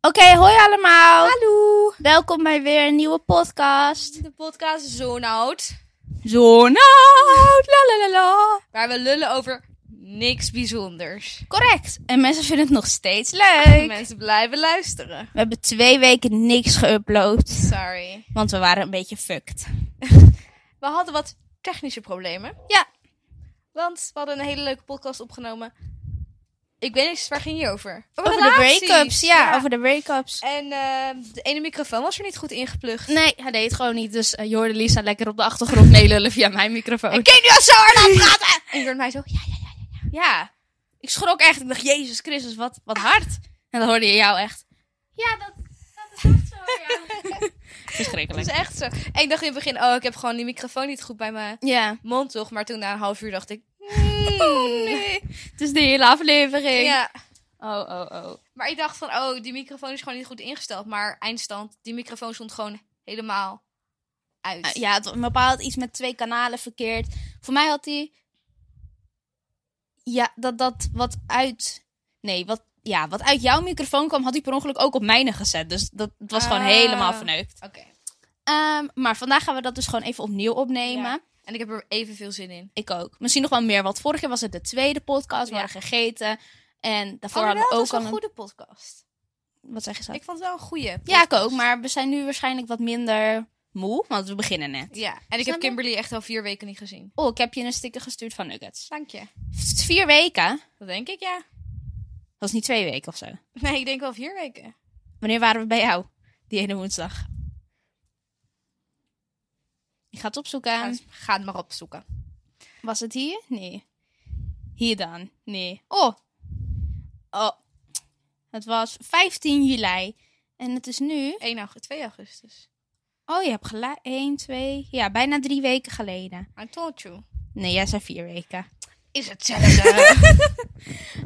Oké, hoi allemaal. Hallo. Welkom bij weer een nieuwe podcast. De podcast Zonout, Zo'n oud, la la la la. waar we lullen over niks bijzonders. Correct. En mensen vinden het nog steeds leuk. Mensen blijven luisteren. We hebben twee weken niks geüpload, Sorry. want we waren een beetje fucked. We hadden wat technische problemen, Ja, want we hadden een hele leuke podcast opgenomen. Ik weet niet, dus waar ging je over? over de relaties, break-ups. Ja, over de break-ups. En eh, de ene microfoon was er niet goed ingeplucht. Nee, hij deed het gewoon niet. Dus eh, je hoorde Lisa lekker op de achtergrond meelullen via mijn microfoon. Ik kan nu al zo hard aan praten. En je hoorde mij zo, ja, ja, ja. Ja, ik schrok echt. Ik dacht, Jezus Christus, wat, wat hard. En dan hoorde je jou echt Ja, dat, dat is echt zo, ja. Dat is verschrikkelijk. echt zo. En ik dacht in het begin, oh, ik heb gewoon die microfoon niet goed bij mijn Ja, mond, toch? Maar toen na een half uur dacht ik, oh het is de hele aflevering. Ja. Oh, oh, oh. Maar ik dacht van, oh, die microfoon is gewoon niet goed ingesteld. Maar eindstand, die microfoon stond gewoon helemaal uit. Eh, Ja, het was bepaald iets met twee kanalen verkeerd. Voor mij had hij... Ja, dat dat wat uit... Nee, wat, ja, wat uit jouw microfoon kwam, had hij per ongeluk ook op mijne gezet. Dus dat het was gewoon Ah. helemaal verneukt. Oké. Ehm, maar vandaag gaan we dat dus gewoon even opnieuw opnemen. Ja. En ik heb er evenveel zin in. Ik ook. Misschien nog wel meer, want vorige keer was het de tweede podcast. We Ja. hadden gegeten. En daarvoor Oh, Voor hadden we ook al een een- goede podcast. Wat zeg je zo? Ik vond het wel een goede Ja, ik podcast. ook. Maar we zijn nu waarschijnlijk wat minder moe, want we beginnen net. Ja, en ik Snap heb je? Kimberly echt al vier weken niet gezien. Oh, ik heb je een sticker gestuurd van Nuggets. Dank je. Het is Vier weken. Dat denk ik, ja. Dat is niet twee weken of zo. Nee, ik denk wel vier weken. Wanneer waren we bij jou? Die ene woensdag. Ik ga het opzoeken. Ga het- Ga het maar opzoeken. Was het hier? Nee. Hier dan? Nee. Oh. Oh. Het was 15 juli. En het is nu... 1 augustus, 2 augustus. Oh, je hebt gelijk. 1, 2... Ja, bijna drie weken geleden. I told you. Nee, jij zei vier weken. Is hetzelfde.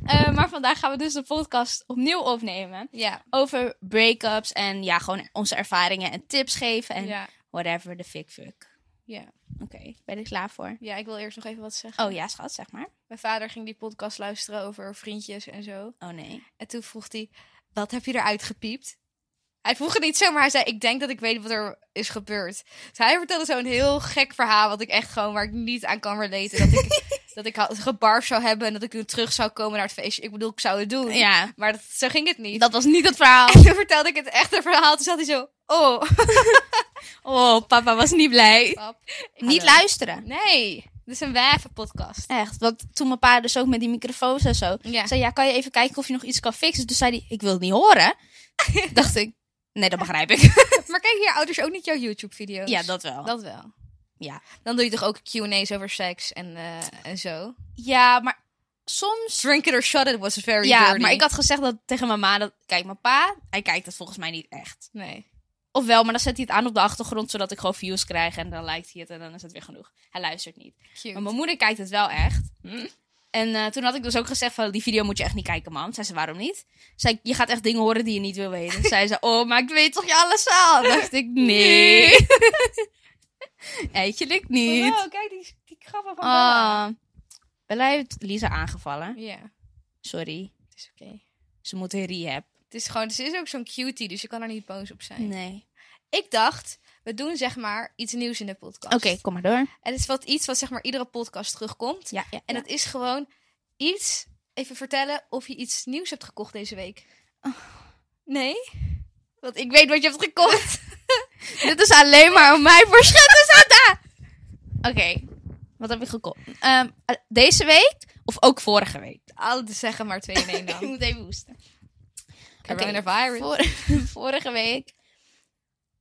Eh, maar vandaag gaan we dus de podcast opnieuw opnemen. ja. Over break-ups en ja, gewoon onze ervaringen en tips geven. En ja. whatever the fick fuck. Ja. Oké, ben ik klaar voor? Ja, ik wil eerst nog even wat zeggen. Oh ja, schat, zeg maar. Mijn vader ging die podcast luisteren over vriendjes en zo. Oh nee. En toen vroeg hij, wat heb je eruit gepiept? Hij vroeg het niet zo, maar hij zei, ik denk dat ik weet wat er is gebeurd. Dus hij vertelde zo'n heel gek verhaal, wat ik echt gewoon, waar ik niet aan kan relaten. Dat ik, dat ik had- gebarfd zou hebben en dat ik toen terug zou komen naar het feestje. Ik bedoel, ik zou het doen. Ja, Maar dat, zo ging het niet. dat was niet het verhaal. En toen vertelde ik het echte verhaal, toen zat hij zo, oh. Oh, papa was niet blij. Pap. Niet luisteren. Nee, dit is een wijvenpodcast. Echt, want toen mijn pa dus ook met die microfoons en zo... Ja. zei, ja, kan je even kijken of je nog iets kan fixen? Toen zei hij, ik wil het niet horen. dacht ik, nee, dat begrijp ik. Maar kijk hier ouders ook niet jouw YouTube-video's? ja, dat wel. Dat wel. Ja. Dan doe je toch ook Q&A's over seks en, eh, en zo? Ja, maar soms... Drink it or shut it was very Ja, dirty. maar ik had gezegd dat tegen mijn ma... Dat, kijk, mijn pa, hij kijkt dat volgens mij niet echt. Nee. Of wel, maar dan zet hij het aan op de achtergrond... zodat ik gewoon views krijg en dan lijkt hij het en dan is het weer genoeg. Hij luistert niet. Maar mijn moeder kijkt het wel echt. Hm. En eh, toen had ik dus ook gezegd van, die video moet je echt niet kijken, mam. Zei ze, waarom niet? Zei ik, je gaat echt dingen horen die je niet wil weten. Zei ze, oh, maar ik weet toch je alles al? dacht ik, nee. Eigenlijk niet. Oh, kijk die, die grappen van Bella. Oh. Bella heeft Lisa aangevallen. Ja, Sorry. het is oké. Ze moet in rehab. Het is gewoon, ze is ook zo'n cutie, dus je kan er niet boos op zijn. Nee. Ik dacht, we doen zeg maar iets nieuws in de podcast. Oké, kom maar door. En het is wat iets wat zeg maar iedere podcast terugkomt. Ja, ja. En ja. dat is gewoon iets, even vertellen of je iets nieuws hebt gekocht deze week. Oh. Nee? Want ik weet wat je hebt gekocht. Dit is alleen maar om mij voor schutten zetten. Oké. Wat heb ik gekocht? Ehm, deze week of ook vorige week? Nou, Alles zeggen dus maar twee in één dan. moet even hoesten. Coronavirus. Vor- vorige week,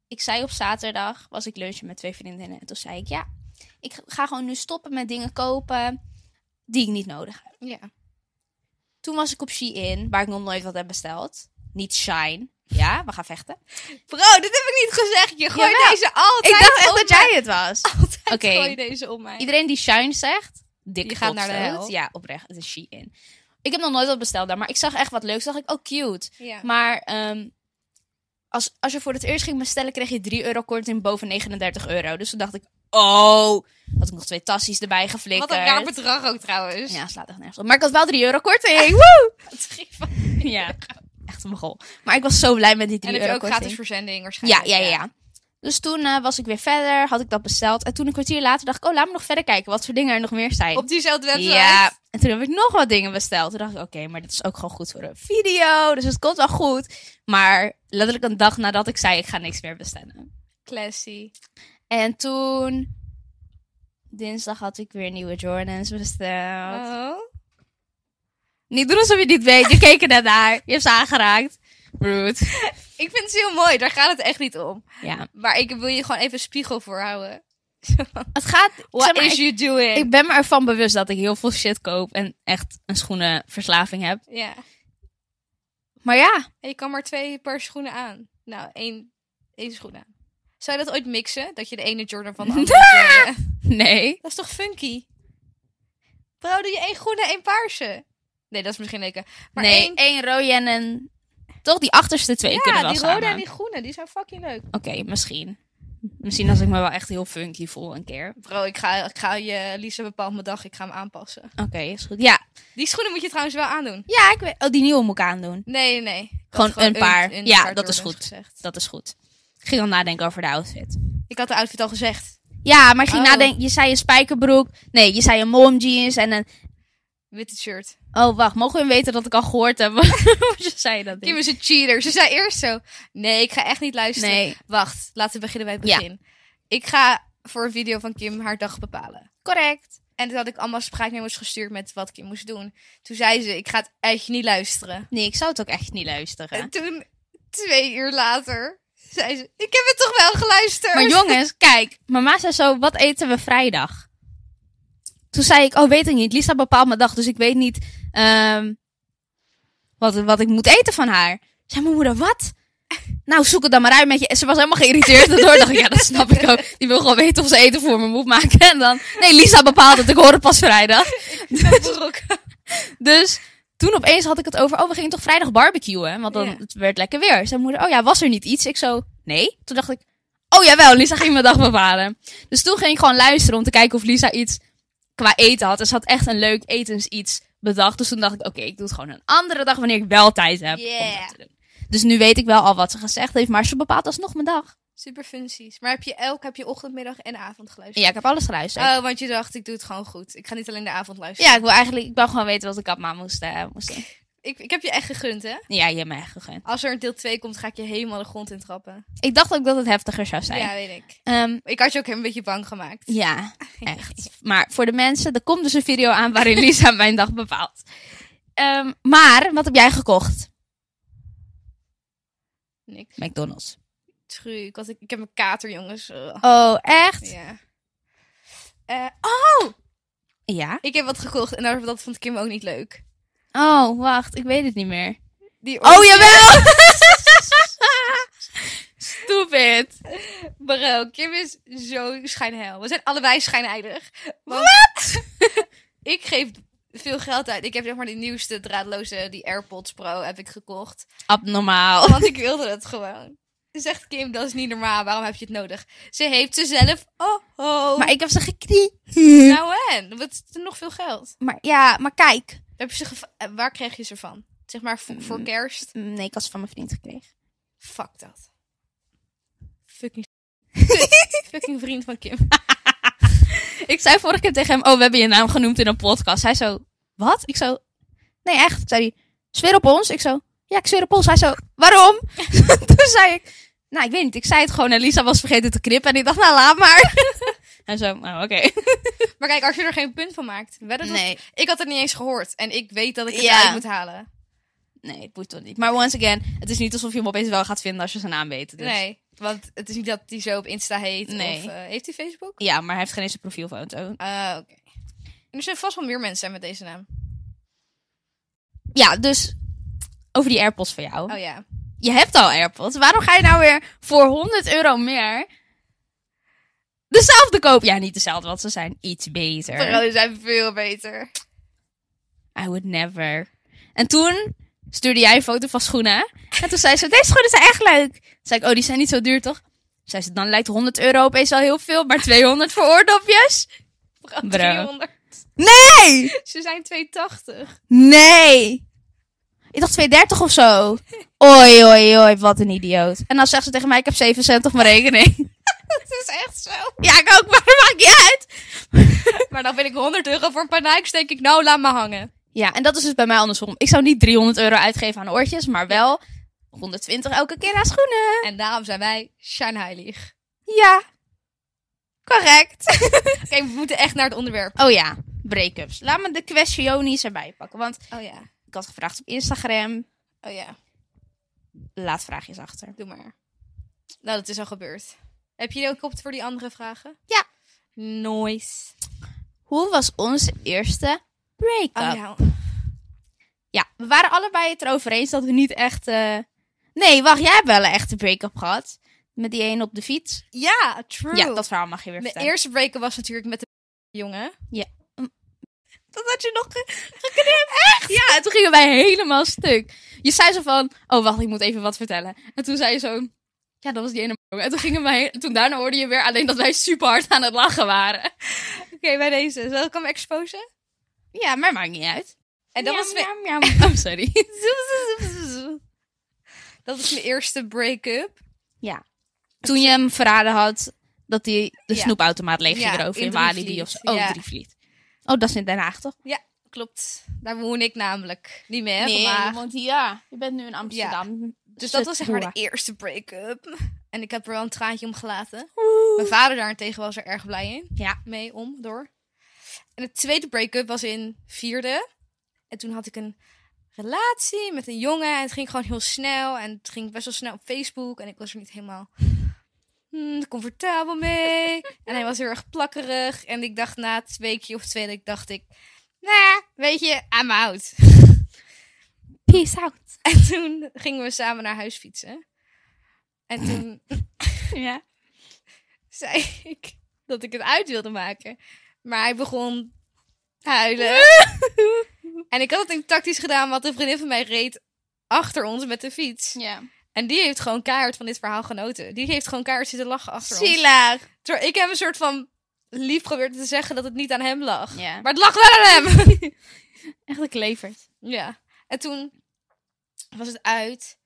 ik zei op zaterdag, was ik lunchen met twee vriendinnen. En toen zei ik, ja, ik ga gewoon nu stoppen met dingen kopen die ik niet nodig heb. Ja. Toen was ik op Shein, waar ik nog nooit wat heb besteld. Niet Shine. Ja, we gaan vechten. Bro, dit heb ik niet gezegd. Je gooit Jawel. deze altijd. ik dacht echt om dat jij het was. mij. Altijd Oké. gooi je deze om mij. Iedereen die Shine zegt, dik Die gaat naar de kopstoot. hel. Ja, oprecht. Het is Shein. Ik heb nog nooit wat besteld daar, maar ik zag echt wat leuks. Dacht ik, oh cute. Ja. Maar ehm, als, als je voor het eerst ging bestellen, kreeg je 3 euro korting boven 39 euro. Dus toen dacht ik, oh, had ik nog twee tassies erbij geflikkerd. Wat een raar bedrag ook trouwens. Ja, slaat echt nergens op. Maar ik had wel 3 euro korting. Woe! Het ging van- ja, echt een mogol. Maar ik was zo blij met die En 3 heb euro je ook gratis korting. verzending Ja, waarschijnlijk. ja, ja, ja. Dus toen eh, was ik weer verder, had ik dat besteld. En toen een kwartier later dacht ik, oh, laat me nog verder kijken wat voor dingen er nog meer zijn. Op diezelfde website. Ja, en toen heb ik nog wat dingen besteld. Toen dacht ik, oké, maar dit is ook gewoon goed voor een video. Dus het komt wel goed. Maar letterlijk een dag nadat ik zei, ik ga niks meer bestellen. Classy. En toen, dinsdag had ik weer nieuwe Jordans besteld. Oh. Niet doen alsof je het niet weet. Je keek er net naar. Je hebt ze aangeraakt. Rude. Ik vind het heel mooi, daar gaat het echt niet om. Ja. Maar ik wil je gewoon even spiegel voorhouden. Het gaat... What zeg maar, ik, is you doing? ik ben me ervan bewust dat ik heel veel shit koop. En echt een schoenenverslaving heb. Ja. Maar ja. En je kan maar twee paar schoenen aan. Nou, één, één schoen aan. Zou je dat ooit mixen? Dat je de ene Jordan van de andere... eh, Nee. Dat is toch funky? Bro, doe je één groene en één paarse. Nee, dat is misschien lekker. Maar nee, één... één rode en een... Toch die achterste twee kunnen Ja, wel die samen. rode en die groene, die zijn fucking leuk. Oké, misschien. Misschien als ik me wel echt heel funky voel een keer. Bro, ik ga, ik ga je Lisa bepaalt mijn dag, ik ga hem aanpassen. Oké, is goed. Ja. Die schoenen moet je trouwens wel aandoen. Ja, ik weet... Oh, die nieuwe moet ik aandoen. Nee, nee, nee. Ik had Gewoon een paar. Ja, dat is Jordans goed. gezegd. Dat is goed. Ik ging al nadenken over de outfit. Ik had de outfit al gezegd. Ja, maar ik ging Oh. nadenken. Je zei een spijkerbroek. Nee, je zei een mom jeans en een... Witte shirt. Oh, wacht. Mogen we weten dat ik al gehoord heb? Wat je zei dat Kim niet? is een cheater. Ze zei eerst zo. Nee, ik ga echt niet luisteren. Nee. Wacht, laten we beginnen bij het Ja. begin. Ik ga voor een video van Kim haar dag bepalen. Correct. En toen had ik allemaal spraaknemers gestuurd met wat Kim moest doen. Toen zei ze, ik ga het echt niet luisteren. Nee, ik zou het ook echt niet luisteren. En toen, twee uur later, zei ze, ik heb het toch wel geluisterd. Maar jongens, kijk. Mama zei zo, wat eten we vrijdag? Toen zei ik, oh, weet ik niet. Lisa bepaalt mijn dag, dus ik weet niet ehm, wat, wat ik moet eten van haar. Zei mijn moeder, wat? Nou, zoek het dan maar uit met je. Ze was helemaal geïrriteerd daardoor. dacht ik, ja, dat snap ik ook. Die wil gewoon weten of ze eten voor me moet maken. En dan, nee, Lisa bepaalt het. Ik hoor het pas vrijdag. Dus toen opeens had ik het over, oh, we gingen toch vrijdag barbecuen? Want dan Ja. het werd lekker weer. Zijn moeder, oh ja, was er niet iets? Ik zo, nee. Toen dacht ik, oh jawel, Lisa ging mijn dag bepalen. Dus toen ging ik gewoon luisteren om te kijken of Lisa iets qua eten had. En ze had echt een leuk etens iets bedacht. Dus toen dacht ik, oké, ik doe het gewoon een andere dag wanneer ik wel tijd heb om Yeah. dat te doen. Dus nu weet ik wel al wat ze gezegd heeft, maar ze bepaalt alsnog mijn dag. Super funsies. Maar heb je elk, heb je ochtend, middag en avond En geluisterd? ja, ik heb alles geluisterd. Oh, want je dacht, ik doe het gewoon goed. Ik ga niet alleen de avond luisteren. ja, ik wil eigenlijk, ik wil gewoon weten wat ik aan ma moest, eh, moest doen. Ik, ik heb je echt gegund, hè? Ja, je hebt me echt gegund. Als er een deel 2 komt, ga ik je helemaal de grond in trappen. Ik dacht ook dat het heftiger zou zijn. Ja, weet ik. Ehm, Ik had je ook een beetje bang gemaakt. Ja, echt. Maar voor de mensen, er komt dus een video aan waarin Lisa mijn dag bepaalt. Ehm, maar, wat heb jij gekocht? Niks. McDonald's. Tru, ik, had, ik heb een kater, jongens. Ugh. Oh, echt? Ja. Eh, Ja. ik heb wat gekocht en daar- dat vond Kim ook niet leuk. Oh, wacht, ik weet het niet meer. Die Oh, jawel! Stupid. Bro, Kim is zo schijnheil. We zijn allebei schijnheilig. Wat? ik geef veel geld uit. Ik heb zeg maar die nieuwste draadloze, die AirPods Pro, heb ik gekocht. Abnormaal. Want ik wilde het gewoon. Zegt Kim, dat is niet normaal. Waarom heb je het nodig? Ze heeft ze zelf. Oh, oh. Maar ik heb ze geknie. Nou en? Wat is er nog veel geld? Maar ja, maar kijk. Heb je ze geva- eh, Waar kreeg je ze van? Zeg maar voor, voor kerst? Nee, ik had ze van mijn vriend gekregen. Fuck dat. Fucking, fucking vriend van Kim. Ik zei vorige keer tegen hem, oh, we hebben je naam genoemd in een podcast. Hij zo, wat? Ik zo, nee, echt. Zei hij, zweer op ons? Ik zo, ja, ik zweer op ons. Hij zo, waarom? Toen zei ik, nou, ik weet niet. Ik zei het gewoon en Lisa was vergeten te knippen. En ik dacht, nou, laat maar. en zo, nou, oké. Maar kijk, als je er geen punt van maakt. Weet het Nee. Ik had het niet eens gehoord. En ik weet dat ik het Ja. uit moet halen. Nee, het moet toch niet. Maar once again, het is niet alsof je hem opeens wel gaat vinden als je zijn naam weet. dus- Nee. Want het is niet dat hij zo op Insta heet. Nee. Of, eh, heeft hij Facebook? Ja, maar hij heeft geen eens een profielfoto. Ah, oké. En er zijn vast wel meer mensen met deze naam. Ja, dus over die AirPods van jou. Oh ja. Je hebt al AirPods. Waarom ga je nou weer voor 100 euro meer dezelfde kopen? Ja, niet dezelfde, want ze zijn iets beter. Parolen zijn veel beter. I would never. En toen stuurde jij een foto van schoenen. En toen zei ze, deze schoenen zijn echt leuk. Toen zei ik, oh, die zijn niet zo duur, toch? Zei ze, dan lijkt 100 euro opeens al heel veel, maar 200 voor oordopjes? Bro. Bro. 300. Nee! Ze zijn 280. Nee! Ik dacht 2,30 of zo. Oi, oi, oi, wat een idioot. En dan zegt ze tegen mij, ik heb 7 cent op mijn rekening. Het is echt zo. ja, ik ook, maar dat maakt niet uit. Maar dan vind ik 100 euro voor een paar Nikes, denk ik, nou, laat me hangen. Ja, en dat is dus bij mij andersom. Ik zou niet 300 euro uitgeven aan oortjes, maar wel 120 elke keer aan schoenen. En daarom zijn wij schijnheilig. Ja, correct. Oké, we moeten echt naar het onderwerp. Oh ja, break-ups. Laat me de questionies erbij pakken, want Oh ja, ik had gevraagd op Instagram. oh ja, Laat vraagjes achter. doe maar. Nou, dat is al gebeurd. Heb je ook op voor die andere vragen? Ja. Nice. Hoe was onze eerste break-up? ja. Oh ja, we waren allebei het erover eens dat we niet echt... eh, Nee, wacht, jij hebt wel een echte break-up gehad. Met die een op de fiets. ja true. Ja, dat verhaal mag je weer Mijn vertellen. eerste break was natuurlijk met de jongen. Mm. Dat had je nog ge- geknipt. Echt? Ja, en toen gingen wij helemaal stuk. Je zei zo van, oh wacht, ik moet even wat vertellen. En toen zei je zo, ja, dat was die ene jongen. En toen gingen wij, en toen daarna hoorde je weer alleen dat wij super hard aan het lachen waren. Oké, bij deze. Zal ik hem exposen? Ja, maar maakt niet uit. En dat, was mijn, weer... Oh, sorry. dat was mijn eerste break-up. toen je hem verraden had dat hij de Ja. snoepautomaat leeg ging Ja, roven in in Walibi Drievliet, of zo. Oh, ja. Drievliet. Oh, dat is in Den Haag toch? Klopt. Daar woon ik namelijk. Niet meer, je vandaag. woont hier. Ja, je bent nu in Amsterdam. Dus dat was zeg maar de eerste break-up. En ik heb er wel een traantje om gelaten. Mijn vader daarentegen was er erg blij in. Ja. Mee, om, door. En het tweede break-up was in vierde. En toen had ik een relatie met een jongen. En het ging gewoon heel snel. En het ging best wel snel op Facebook. En ik was er niet helemaal hmm, comfortabel mee. en hij was heel erg plakkerig. En ik dacht na het weekje of twee, dat ik dacht ik... Nou, weet je, I'm out. Peace out. En toen gingen we samen naar huis fietsen. En toen Ja. zei ik dat ik het uit wilde maken. Maar hij begon te huilen. en ik had het een tactisch gedaan, want een vriendin van mij reed achter ons met de fiets. ja. En die heeft gewoon keihard van dit verhaal genoten. Die heeft gewoon keihard zitten lachen achter ons. Zielig. Terwijl ik heb een soort van lief geprobeerd te zeggen dat het niet aan hem lag. Ja. Maar het lag wel aan hem! Echt een klevert. Ja. En toen was het uit.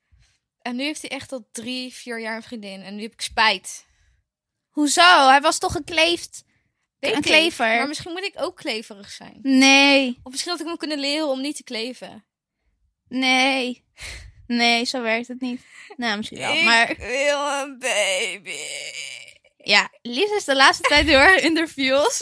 En nu heeft hij echt al drie, vier jaar een vriendin. En nu heb ik spijt. Hoezo? Hij was toch gekleefd? Weet Een ik. klever. Maar misschien moet ik ook kleverig zijn. Nee. Of misschien had ik hem kunnen leren om niet te kleven. Nee. Nee, zo werkt het niet. Nou, misschien wel. Ik Maar wil een baby. ja, Lies is de laatste tijd heel erg interviews.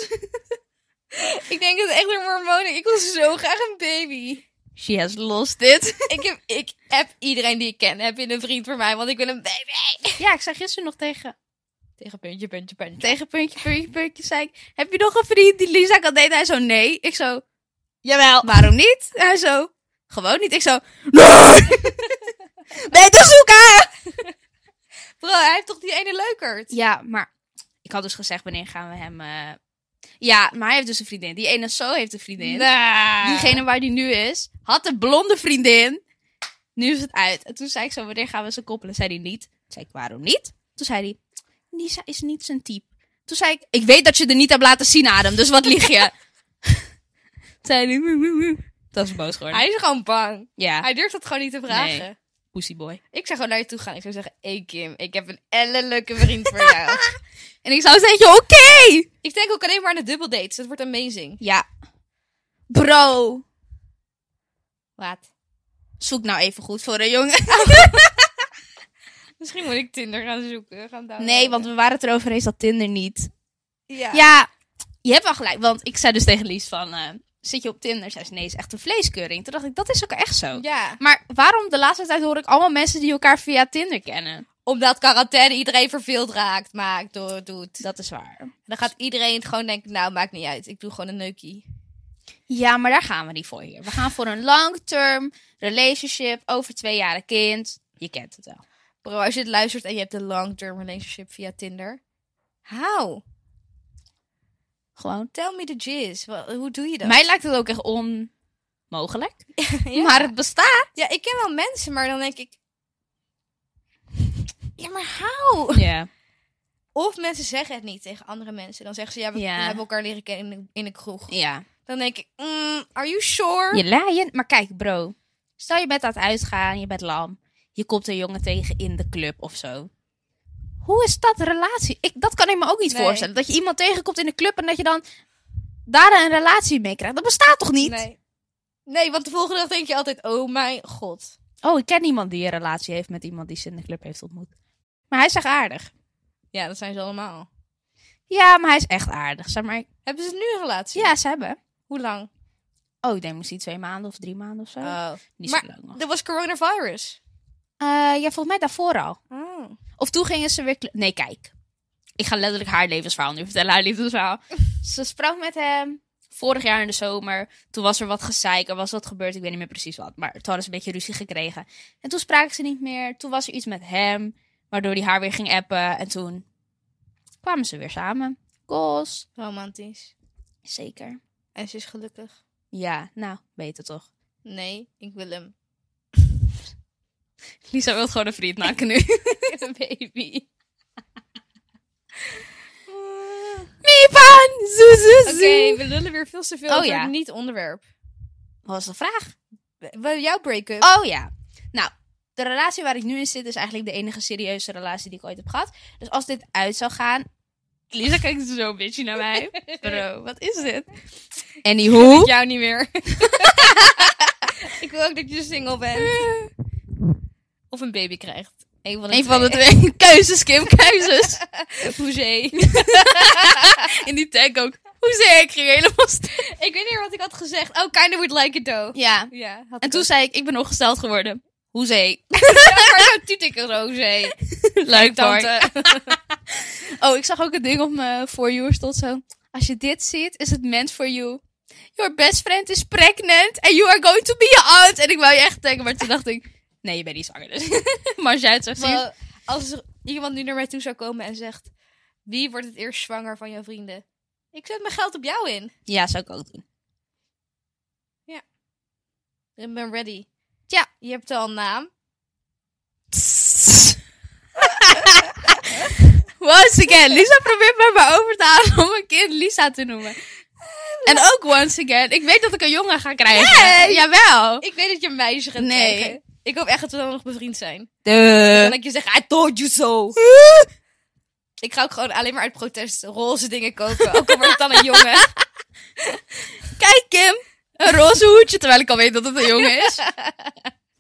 Ik denk dat het echt door mijn hormonen. Ik wil zo graag een baby. She has lost it. ik, heb, ik heb iedereen die ik ken. Heb je een vriend voor mij, want ik wil een baby. Ja, ik zei gisteren nog tegen, Tegen puntje, puntje, puntje. tegen puntje, puntje, puntje, zei ik, heb je nog een vriend die Lisa kan daten? Hij zo, nee. Ik zo, jawel. Waarom niet? Hij zo, gewoon niet. Ik zo, nee. ben je te zoeken? Bro, hij heeft toch die ene leukert? Ja, maar ik had dus gezegd, wanneer gaan we hem... eh, Ja, maar hij heeft dus een vriendin. Die ene zo heeft een vriendin. Nee. Diegene waar die nu is, had een blonde vriendin. Nu is het uit. En toen zei ik zo, wanneer gaan we ze koppelen? Zei hij niet. Toen zei ik, waarom niet? Toen zei hij, Nisa is niet zijn type. Toen zei ik, ik weet dat je er niet hebt laten zien, Adam, dus wat lieg je? Toen zei hij, "Woe, woe, woe." dat is boos geworden. Hij is gewoon bang. Ja, Hij durft dat gewoon niet te vragen. Nee. pussyboy. Ik zou gewoon naar je toe gaan. Ik zou zeggen, hey Kim, ik heb een ellenleuke vriend voor jou. En ik zou zeggen, oké! ik denk ook alleen maar aan de dubbeldates. Dat wordt amazing. Ja. Bro, Wat? zoek nou even goed voor een jongen. Misschien moet ik Tinder gaan zoeken. Gaan downloaden. Nee, want we waren het erover eens dat Tinder niet Ja. Ja, je hebt wel gelijk. Want ik zei dus tegen Lies van... eh, zit je op Tinder? Zei ze, nee, is echt een vleeskeuring. Toen dacht ik, dat is ook echt zo. Ja. Maar waarom de laatste tijd hoor ik allemaal mensen die elkaar via Tinder kennen? Omdat quarantaine iedereen verveeld raakt, maakt, door, doet. Dat is waar. Dan gaat iedereen het gewoon denken, nou, maakt niet uit. Ik doe gewoon een neukie. Ja, maar daar gaan we niet voor hier. We gaan voor een long-term relationship over twee jaar een kind. Je kent het wel. Bro, als je het luistert en je hebt een long-term relationship via Tinder. How? Gewoon. Tell me the gist. Wel, Hoe doe je dat? Mij lijkt het ook echt onmogelijk. Ja. Maar het bestaat. ja, ik ken wel mensen, maar dan denk ik... Ja, maar how? Ja. Of mensen zeggen het niet tegen andere mensen. Dan zeggen ze, ja, we, Ja. we hebben elkaar leren kennen in de, in de kroeg. Ja. Dan denk ik, mm, are you sure? Je laaien. Maar kijk, bro. Stel je bent aan het uitgaan, je bent lam. Je komt een jongen tegen in de club of zo. Hoe is dat relatie? Ik, dat kan ik me ook niet Nee. voorstellen. Dat je iemand tegenkomt in de club en dat je dan daar een relatie mee krijgt. Dat bestaat toch niet? Nee. nee, want de volgende dag denk je altijd, oh mijn god. Oh, ik ken iemand die een relatie heeft met iemand die ze in de club heeft ontmoet. Maar hij is echt aardig. Ja, dat zijn ze allemaal. Ja, maar hij is echt aardig. Zeg maar, Hebben ze nu een relatie? ja, ze hebben. Hoe lang? Oh, ik denk misschien twee maanden of drie maanden of zo. Oh. niet maar zo lang nog. Er was coronavirus. Eh, ja, volgens mij daarvoor al. Oh. Of toen gingen ze weer... kle- Nee, kijk. Ik ga letterlijk haar levensverhaal nu vertellen. Haar levensverhaal. ze sprak met hem vorig jaar in de zomer. Toen was er wat gezeik. Er was wat gebeurd. Ik weet niet meer precies wat. Maar toen hadden ze een beetje ruzie gekregen. En toen spraken ze niet meer. Toen was er iets met hem. Waardoor hij haar weer ging appen. En toen kwamen ze weer samen. Goals. Romantisch. Zeker. En ze is gelukkig. Ja, nou, beter toch. Nee, ik wil hem. Lisa wil gewoon een vriend maken nu. een baby. Mipan! Zoe, zoe, Oké, zoe. we lullen weer veel te veel Oh, over ja. het niet-onderwerp. Wat was de vraag? Wel, Jouw break-up. Oh ja. Nou, de relatie waar ik nu in zit is eigenlijk de enige serieuze relatie die ik ooit heb gehad. Dus als dit uit zou gaan... Lisa kijkt zo bitchy naar mij. Bro, wat is dit? Anywho. jou niet meer. ik wil ook dat je single bent. Of een baby krijgt. Eén van de Een van de twee. twee. Keuzes, Kim. Keuzes. Hoezee. In die tag ook. Hoe zei ik? Ging helemaal stil. ik weet niet meer wat ik had gezegd. Oh, kinda would like it though. Ja. Ja. Had En toen zei ik, ik ben ongesteld geworden. Hoezee. Marco Tutikker, Hoezee. Leuk, hoor. Tante. Oh, ik zag ook een ding op mijn For You stond zo. Als je dit ziet, is het meant for you. Your best friend is pregnant and you are going to be your aunt. En ik wou je echt denken, maar toen dacht ik... Nee, je bent niet zwanger dus. maar jij het zegt, zie je? Maar als er iemand nu naar mij toe zou komen en zegt... Wie wordt het eerst zwanger van jouw vrienden? Ik zet mijn geld op jou in. Ja, zou ik ook doen. Ik ben ready. Ja. Je hebt al een naam. once again, Lisa probeert mij maar over te halen om een kind Lisa te noemen. En ook once again, ik weet dat ik een jongen ga krijgen. Jawel. Ik weet dat je een meisje gaat Nee. Eh. krijgen. Ik hoop echt dat we dan nog bevriend zijn. En De... dat je zegt, I told you so. Ik ga ook gewoon alleen maar uit protest roze dingen kopen. Ook al wordt het dan een jongen. Kijk Kim, een roze hoedje, terwijl ik al weet dat het een jongen is.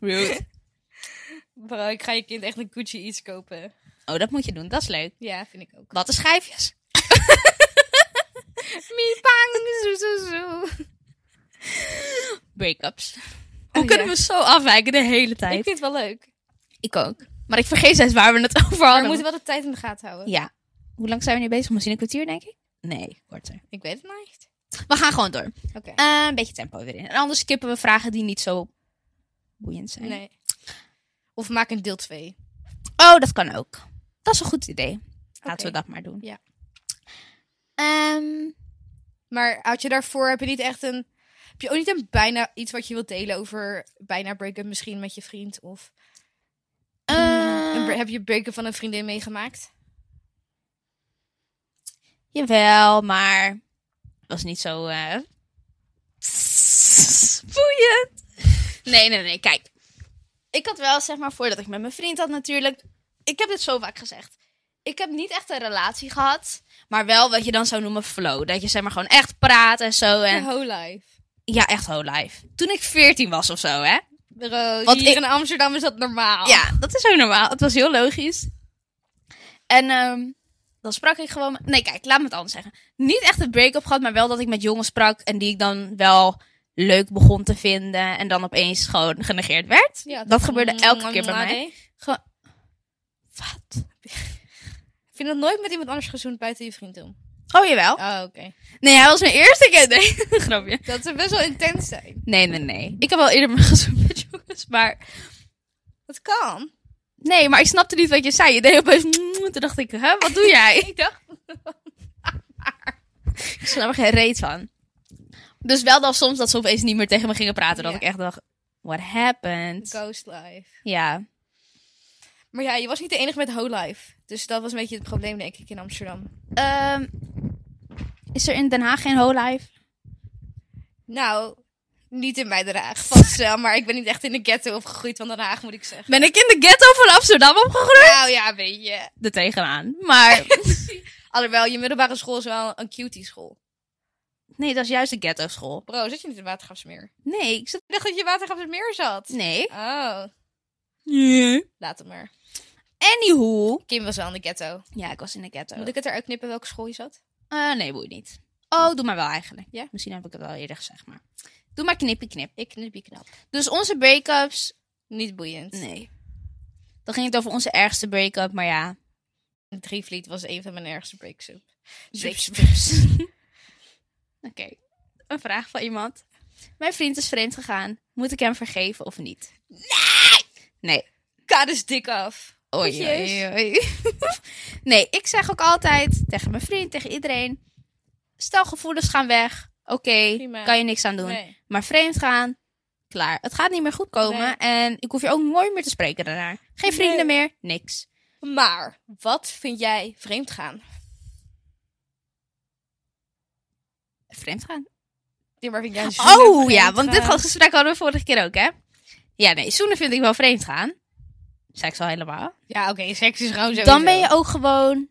Rude. Bro, ik ga je kind echt een Gucci iets kopen. Oh, dat moet je doen. Dat is leuk. Ja, vind ik ook. Wat de schijfjes. Me bang, zo, zo, zo. Breakups. Oh, Hoe kunnen ja. we zo afwijken de hele Ik tijd? vind het wel leuk. Ik ook. Maar ik vergeet steeds waar we het over Maar hadden. we moeten wel de tijd in de gaten houden. Ja. Hoe lang zijn we nu bezig? Misschien een kwartier, denk ik? Nee, korter. Ik weet het nog niet. We gaan gewoon door. Oké. Eh, een beetje tempo weer in. En anders skippen we vragen die niet zo boeiend zijn. Nee. Of maak een deel 2. Oh, dat kan ook. Dat is een goed idee. Laten Oké. we dat maar doen. Ja. Ehm, Maar had je daarvoor, heb je niet echt een... Heb je ook niet een bijna iets wat je wilt delen over bijna break-up misschien met je vriend? Of eh, een bre- heb je break-up van een vriendin meegemaakt? Jawel, maar het was niet zo eh boeiend. Nee, nee, nee. Kijk, ik had wel, zeg maar, voordat ik met mijn vriend had natuurlijk... Ik heb dit zo vaak gezegd. Ik heb niet echt een relatie gehad, maar wel wat je dan zou noemen flow. Dat je, zeg maar, gewoon echt praat en zo. Je En, whole life. ja, echt whole life. Toen ik veertien was of zo, hè? Bro, Want hier ik- in Amsterdam is dat normaal. Ja, dat is ook normaal. Het was heel logisch. En ehm, dan sprak ik gewoon... met- Nee, kijk, laat me het anders zeggen. Niet echt een break-up gehad, maar wel dat ik met jongens sprak... en die ik dan wel leuk begon te vinden... en dan opeens gewoon genegeerd werd. Ja, Mm, dat gebeurde elke keer bij mij. Gewoon- Wat? Ik vind dat nooit met iemand anders gezoend buiten je vriend om. Oh, jawel. Oh, oké. Nee, hij was mijn eerste keer. Nee, grapje. Dat ze best wel intens zijn. Nee, nee, nee. Ik heb wel eerder gezoend met jongens, maar... Dat kan. Nee, maar ik snapte niet wat je zei. Je deed opeens... Toen dacht ik, hè, wat doe jij? Ik dacht, Ik snap er geen reet van. Dus wel dan soms dat ze opeens niet meer tegen me gingen praten. Dat Ja. ik echt dacht, what happened? ghost life. Ja. Maar ja, je was niet de enige met whole life. Dus dat was een beetje het probleem, denk ik, in Amsterdam. Ehm, is er in Den Haag geen ho-life? Nou, Niet in bij Den Haag, vast wel. Maar ik ben niet echt in de ghetto opgegroeid van Den Haag, moet ik zeggen. Ben ik in de ghetto van Amsterdam opgegroeid? Nou ja, weet je. Er tegenaan. Maar Alhoewel, je middelbare school is wel een cutie school. nee, dat is juist de ghetto school. Bro, zit je niet in Watergraafsmeer? Nee, ik zat... Ik dacht dat je in Watergraafsmeer zat. Nee. Oh, laat het maar. Anywho. Kim was wel in de ghetto. Ja, ik was in de ghetto. Moet ik het eruit knippen welke school je zat? Eh, nee, boeit niet. Oh, doe maar wel eigenlijk. Ja? Misschien heb ik het al eerder gezegd, maar... Doe maar knippie knip. Ik knip je knap. Dus onze break-ups... Niet boeiend. Nee. Dan ging het over onze ergste break-up, maar ja. Drievliet was een van mijn ergste breaks up. Oké. Een vraag van iemand. Mijn vriend is vreemd gegaan. Moet ik hem vergeven of niet? Nee! Nee. Kaat is dik af. Oei, oei, oei. nee, ik zeg ook altijd tegen mijn vriend, tegen iedereen. Stel gevoelens gaan weg. Oké, Prima. kan je niks aan doen. Nee. Maar vreemd gaan, klaar. Het gaat niet meer goed komen. Nee. En ik hoef je ook nooit meer te spreken daarna. Geen vrienden Nee. meer, niks. Maar, wat vind jij vreemd gaan? Vreemd gaan. Ja, maar vind jij Oh ja, want dit gesprek hadden we vorige keer ook, hè? Ja, nee, zoenen vind ik wel vreemd gaan. Seks al helemaal. Ja, oké, seks is gewoon zo. Dan ben je ook gewoon...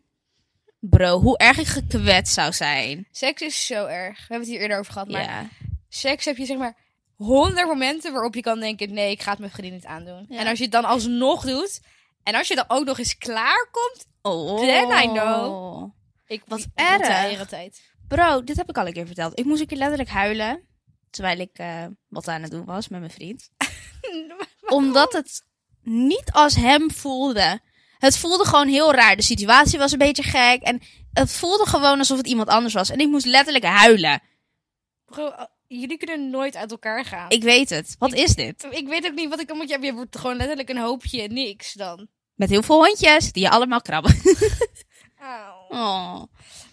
Bro, hoe erg ik gekwetst zou zijn. Seks is zo erg. We hebben het hier eerder over gehad, maar ja. seks heb je zeg maar honderd momenten waarop je kan denken, nee, ik ga het mijn vriendin niet aandoen. Ja. En als je het dan alsnog doet, en als je dan ook nog eens klaar komt, Oh. Then I know. ik Wat ik- erg. de hele tijd. Bro, dit heb ik al een keer verteld. Ik moest een keer letterlijk huilen. Terwijl ik eh, wat aan het doen was met mijn vriend. Omdat het niet als hem voelde. Het voelde gewoon heel raar. De situatie was een beetje gek. En het voelde gewoon alsof het iemand anders was. En ik moest letterlijk huilen. Bro, oh, jullie kunnen nooit uit elkaar gaan. Ik weet het. Wat is dit? Ik weet ook niet wat ik dan moet je hebben. Je wordt gewoon letterlijk een hoopje niks dan. Met heel veel hondjes die je allemaal krabben. Oh.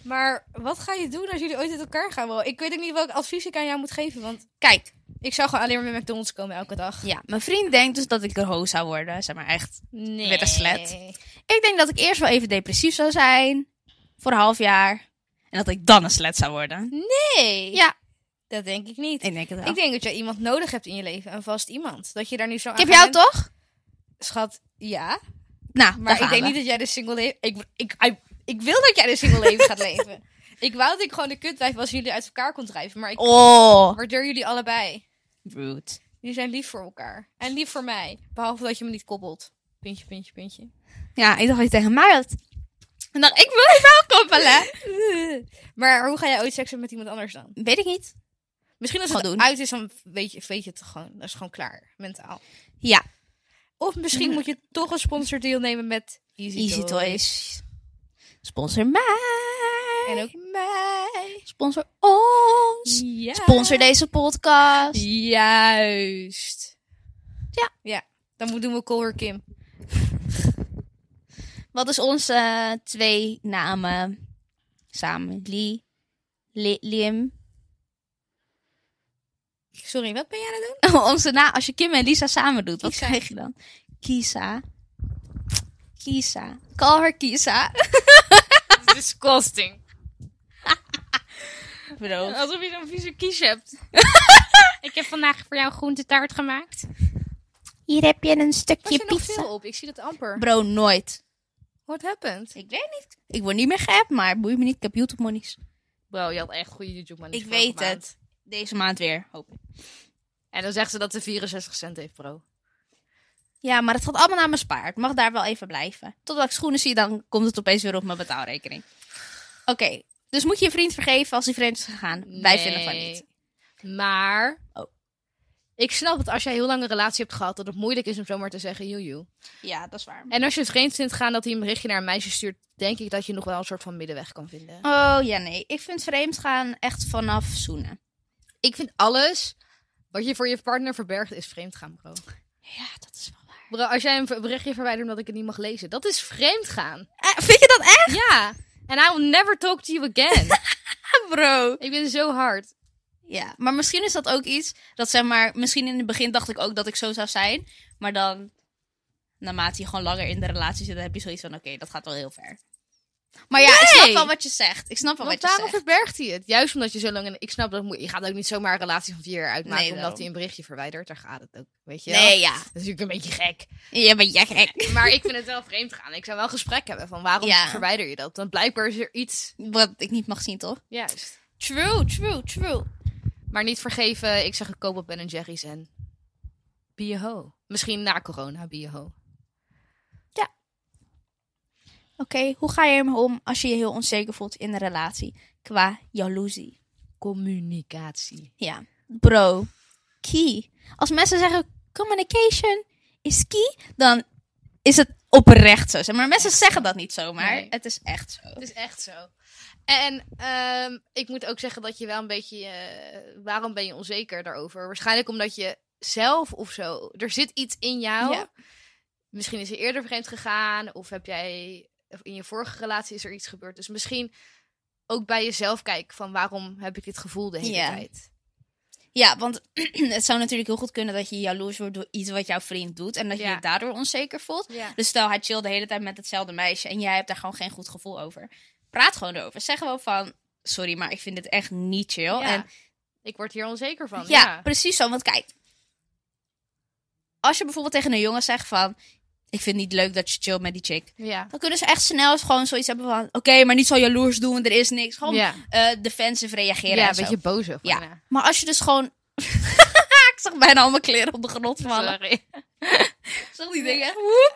Maar wat ga je doen als jullie ooit uit elkaar gaan? Wel, ik weet ook niet welk advies ik aan jou moet geven. Want Kijk, ik zou gewoon alleen maar met McDonald's komen elke dag. ja, mijn vriend denkt dus dat ik een ho zou worden. Zeg maar echt. Nee. Weer een slet. Ik denk dat ik eerst wel even depressief zou zijn. Voor een half jaar. En dat ik dan een slet zou worden. Nee. Ja. Dat denk ik niet. Ik denk het wel. Ik denk dat jij iemand nodig hebt in je leven. Een vast iemand. Dat je daar nu zo Ik heb jou toch? Schat, ja. Nou, Maar ik denk niet dat jij de single leven... Ik, ik, ik, ik wil dat jij de single leven gaat leven. Ik wou dat ik gewoon de kutwijf was die jullie uit elkaar kon drijven. Maar ik Oh, waardeer jullie allebei. rude. Jullie zijn lief voor elkaar. En lief voor mij. Behalve dat je me niet koppelt. Puntje, puntje, puntje. Ja, ik dacht dat je tegen mij had. En dan, ik wil je wel koppelen. Maar hoe ga jij ooit seks hebben met iemand anders dan? Weet ik niet. Misschien als het Gewoon doen. uit is, dan weet je, weet je het gewoon. Dat is gewoon klaar, mentaal. Ja, Of misschien moet je toch een sponsordeal nemen met Easy, Mhm. Easy Toys. Toys. Sponsor mij. En ook mij. Sponsor ons. Ja. Sponsor deze podcast. Juist. Ja. Ja. Dan moet- doen we Color Kim. Wat is onze eh, twee namen samen? Lee, Li- Lim. Sorry, wat ben jij aan het doen? onze na als je Kim en Lisa samen doet, wat Kisa. krijg je dan? Kisa. Kisa. Call her Kisa. Disgusting. Bro. Alsof je zo'n vieze kies hebt. ik heb vandaag voor jou groentetaart gemaakt. Hier heb je een Was stukje je nog pizza. veel op? Ik zie dat amper. Bro, nooit. What happened? Ik weet niet. Ik word niet meer geappt, maar boeit me niet. Ik heb YouTube monies. Wow, je had echt goede YouTube money. Ik weet het. Deze maand weer, hoop ik. En dan zegt ze dat ze 64 cent heeft, bro. Ja, maar het gaat allemaal naar mijn spaar. Het mag daar wel even blijven. Totdat ik schoenen zie, dan komt het opeens weer op mijn betaalrekening. Oké, dus moet je je vriend vergeven als hij vreemd is gegaan? Wij vinden van Nee. niet. Maar. Oh. Ik snap dat als jij heel lang een relatie hebt gehad, dat het moeilijk is om zomaar te zeggen joe joe. Ja, dat is waar. En als je het vreemd vindt gaan dat hij een berichtje naar een meisje stuurt, denk ik dat je nog wel een soort van middenweg kan vinden. Oh ja, nee. Ik vind vreemd gaan echt vanaf zoenen. Ik vind alles wat je voor je partner verbergt is vreemd gaan, bro. Ja, dat is wel waar. Bro, als jij een ver- berichtje verwijdert omdat ik het niet mag lezen, dat is vreemd gaan. Eh, vind je dat echt, Ja. En I will never talk to you again. bro? ik ben zo hard. Oh, Ja, maar misschien is dat ook iets dat zeg maar. Misschien in het begin dacht ik ook dat ik zo zou zijn. Maar dan, naarmate je gewoon langer in de relatie zit, dan heb je zoiets van: oké, dat gaat wel heel ver. Maar ja, ik snap Nee. wel wat je zegt. Ik snap wel Want wat je waarom zegt. verbergt hij het? Juist omdat je zo lang... in- Ik snap dat moet, je gaat ook niet zomaar een relatie van vier jaar uitmaken... Nee, omdat daarom. hij een berichtje verwijdert. Daar gaat het ook, weet je wel. Nee, ja. Dat is natuurlijk een beetje gek. Je bent jij gek. Maar ik vind het wel vreemd gaan. Ik zou wel gesprek hebben van waarom Ja. verwijder je dat? Want blijkbaar is er iets... Wat ik niet mag zien, toch? Juist. True, true, true. Maar niet vergeven. Ik zeg ik koop op Ben Jerry's en... Be a hoe. Misschien na corona, be a hoe. Oké, hoe ga je ermee om als je je heel onzeker voelt in een relatie? Qua jaloezie. Communicatie. Ja. Bro. Key. Als mensen zeggen communication is key, dan is het oprecht zo. Zeg Maar mensen zeggen dat niet zomaar. Nee. Het is echt zo. Het is echt zo. En ehm, ik moet ook zeggen dat je wel een beetje. eh, waarom ben je onzeker daarover? Waarschijnlijk omdat je zelf of zo. Er zit iets in jou. Ja. Misschien is er eerder vreemd gegaan. Of heb jij. Of in je vorige relatie is er iets gebeurd. Dus misschien ook bij jezelf kijken van waarom heb ik dit gevoel de hele Ja. tijd. Ja, want het zou natuurlijk heel goed kunnen dat je jaloers wordt door iets wat jouw vriend doet. En dat je Ja. je daardoor onzeker voelt. Ja. Dus stel, hij chillt de hele tijd met hetzelfde meisje en jij hebt daar gewoon geen goed gevoel over. Praat gewoon erover. Zeg gewoon van, sorry, maar ik vind dit echt niet chill. Oh, En Ik word hier onzeker van. ja, Ja. precies zo. Want kijk, als je bijvoorbeeld tegen een jongen zegt van, ik vind het niet leuk dat je chillt met die chick. Ja. Dan kunnen ze echt snel eens gewoon zoiets hebben van, oké, maar niet zo jaloers doen, want er is niks. Gewoon Ja. eh, defensive reageren Ja, en een zo. beetje boos over. Ja. Maar als je dus gewoon... ik zag bijna al mijn kleren op de grond vallen. Sorry. Zag die dingen?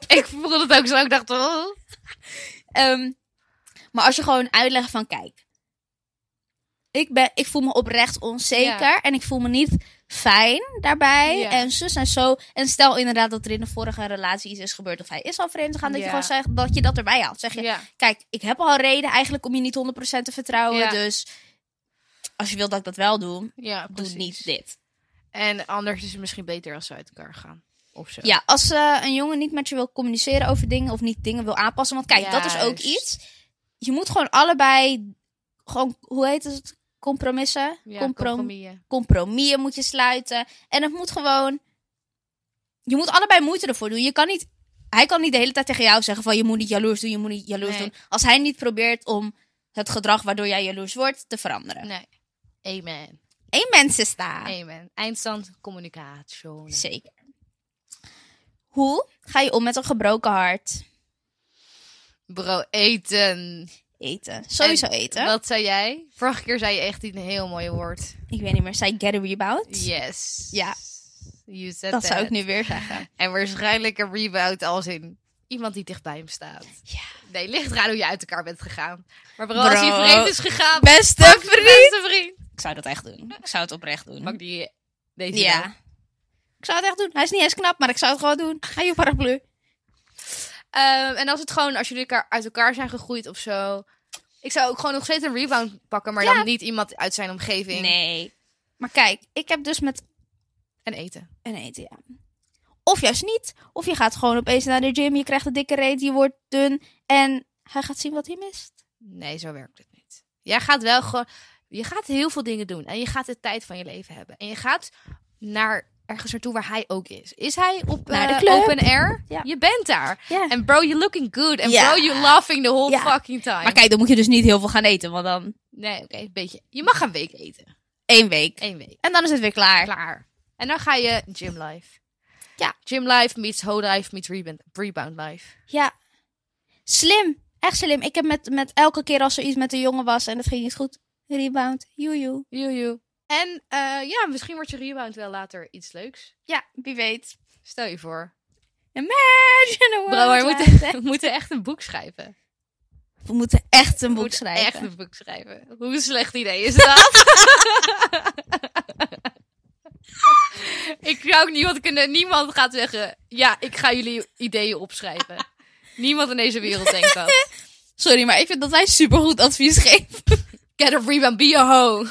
ik voelde het ook zo. Ik dacht, oh. Ehm, maar als je gewoon uitlegt van kijk, ik, ben, ik voel me oprecht onzeker en ik voel me niet fijn daarbij Ja. en zus en zo. En stel inderdaad dat er in de vorige relatie iets is gebeurd of hij is al vreemd gegaan, dat je Ja. gewoon zegt dat je dat erbij haalt. Zeg je, Ja. kijk, ik heb al reden eigenlijk om je niet 100% te vertrouwen, Ja. dus als je wilt dat ik dat wel doe, Ja, doe precies. niet dit. En anders is het misschien beter als ze uit elkaar gaan. Of zo. Ja, als eh, een jongen niet met je wil communiceren over dingen of niet dingen wil aanpassen. Want kijk, dat is ook Juist. iets. Je moet gewoon allebei, gewoon, hoe heet het? Compromissen? Ja, Comprom- compromissen. Compromissen moet je sluiten. En het moet gewoon, je moet allebei moeite ervoor doen. Je kan niet, hij kan niet de hele tijd tegen jou zeggen van je moet niet jaloers doen, je moet niet jaloers Nee. doen. Als hij niet probeert om het gedrag waardoor jij jaloers wordt te veranderen. Nee. Amen. Eén mensen staan. Amen. Eindstand communicatie. Zeker. Hoe ga je om met een gebroken hart? Bro, eten. Eten. Sowieso En eten. Wat zei jij? Vorige keer zei je echt een heel mooi woord. Ik weet niet meer. Zei ik get a rebound? Yes. Ja. You said Dat zou that. ik nu weer zeggen. En waarschijnlijk een rebound als in iemand die dichtbij hem staat. Ja. Nee, ligt eraan hoe je uit elkaar bent gegaan. Maar bro, Bro. als hij vreemd is gegaan, Beste beste vriend. Ik zou dat echt doen. Ik zou het oprecht doen. Pak die deze Ja. dan. Ik zou het echt doen. Hij is niet eens knap, maar ik zou het gewoon doen. Ga je paraplu. Ehm, en als het gewoon, als jullie elkaar uit elkaar zijn gegroeid of zo. Ik zou ook gewoon nog steeds een rebound pakken, maar Ja. dan niet iemand uit zijn omgeving. Nee. Maar kijk, ik heb dus met En eten. een eten, ja. Of juist niet. Of je gaat gewoon opeens naar de gym. Je krijgt een dikke reet. Je wordt dun. En hij gaat zien wat hij mist. Nee, zo werkt het niet. Jij gaat wel gewoon. Je gaat heel veel dingen doen. En je gaat de tijd van je leven hebben. En je gaat naar ergens naartoe waar hij ook is. Is hij op Naar de eh, club. open air? Ja. Je bent daar. Ja. En bro, you're looking good. En Ja. bro, you're laughing the whole Ja. fucking time. Maar kijk, dan moet je dus niet heel veel gaan eten. Want dan Nee, oké, een beetje. Je mag een week eten. één week. Eén week. En dan is het weer klaar. Klaar. En dan ga je gym life. Ja. Gym life meets whole life meets rebound, rebound life. Ja. Slim. Echt slim. Ik heb met, met elke keer als er iets met een jongen was en het ging niet goed. Rebound. Joejoe. Joejoe. En eh, ja, misschien wordt je rebound wel later iets leuks. Ja, wie weet. Stel je voor. Imagine a world Bro, we like moeten, that. we moeten echt een boek schrijven. We moeten echt een We boek moeten schrijven. Echt een boek schrijven. Hoe een slecht idee is dat? ik zou ook niemand kunnen. Niemand gaat zeggen. Ja, ik ga jullie ideeën opschrijven. niemand in deze wereld denkt dat. Sorry, maar ik vind dat wij supergoed advies geven. Get a rebound, be a hoe.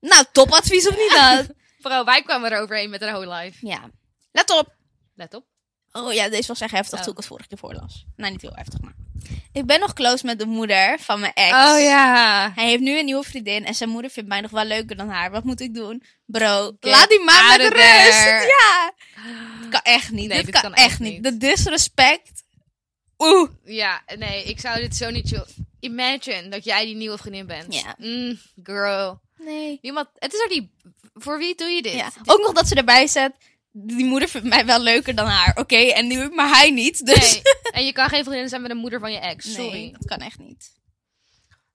nou, topadvies of niet dan? Bro, wij kwamen er overheen met een whole life. ja. Let op. Let op. Oh ja, deze was echt heftig Oh. toen ik het vorige keer voorlas. Nou, niet heel heftig, maar... Oh Ik ben nog close met de moeder van mijn ex. Oh, ja. Hij heeft nu een nieuwe vriendin en zijn moeder vindt mij nog wel leuker dan haar. Wat moet ik doen? Bro, Get laat die maan met out of rust. there. Ja. Dat kan echt niet. Nee, dit, dit kan, kan echt echt niet. niet. De disrespect. Oeh. Ja, nee, ik zou dit zo niet. chill- Imagine dat jij die nieuwe vriendin bent. Ja. Mm, girl. Nee. Niemand, het is er die. Voor wie doe je dit? Ja. Ook nog dat ze erbij zet. Die moeder vindt mij wel leuker dan haar. Oké, en nu, maar hij niet. Dus. Nee. En je kan geen vriendin zijn met de moeder van je ex. Sorry. Nee, dat kan echt niet.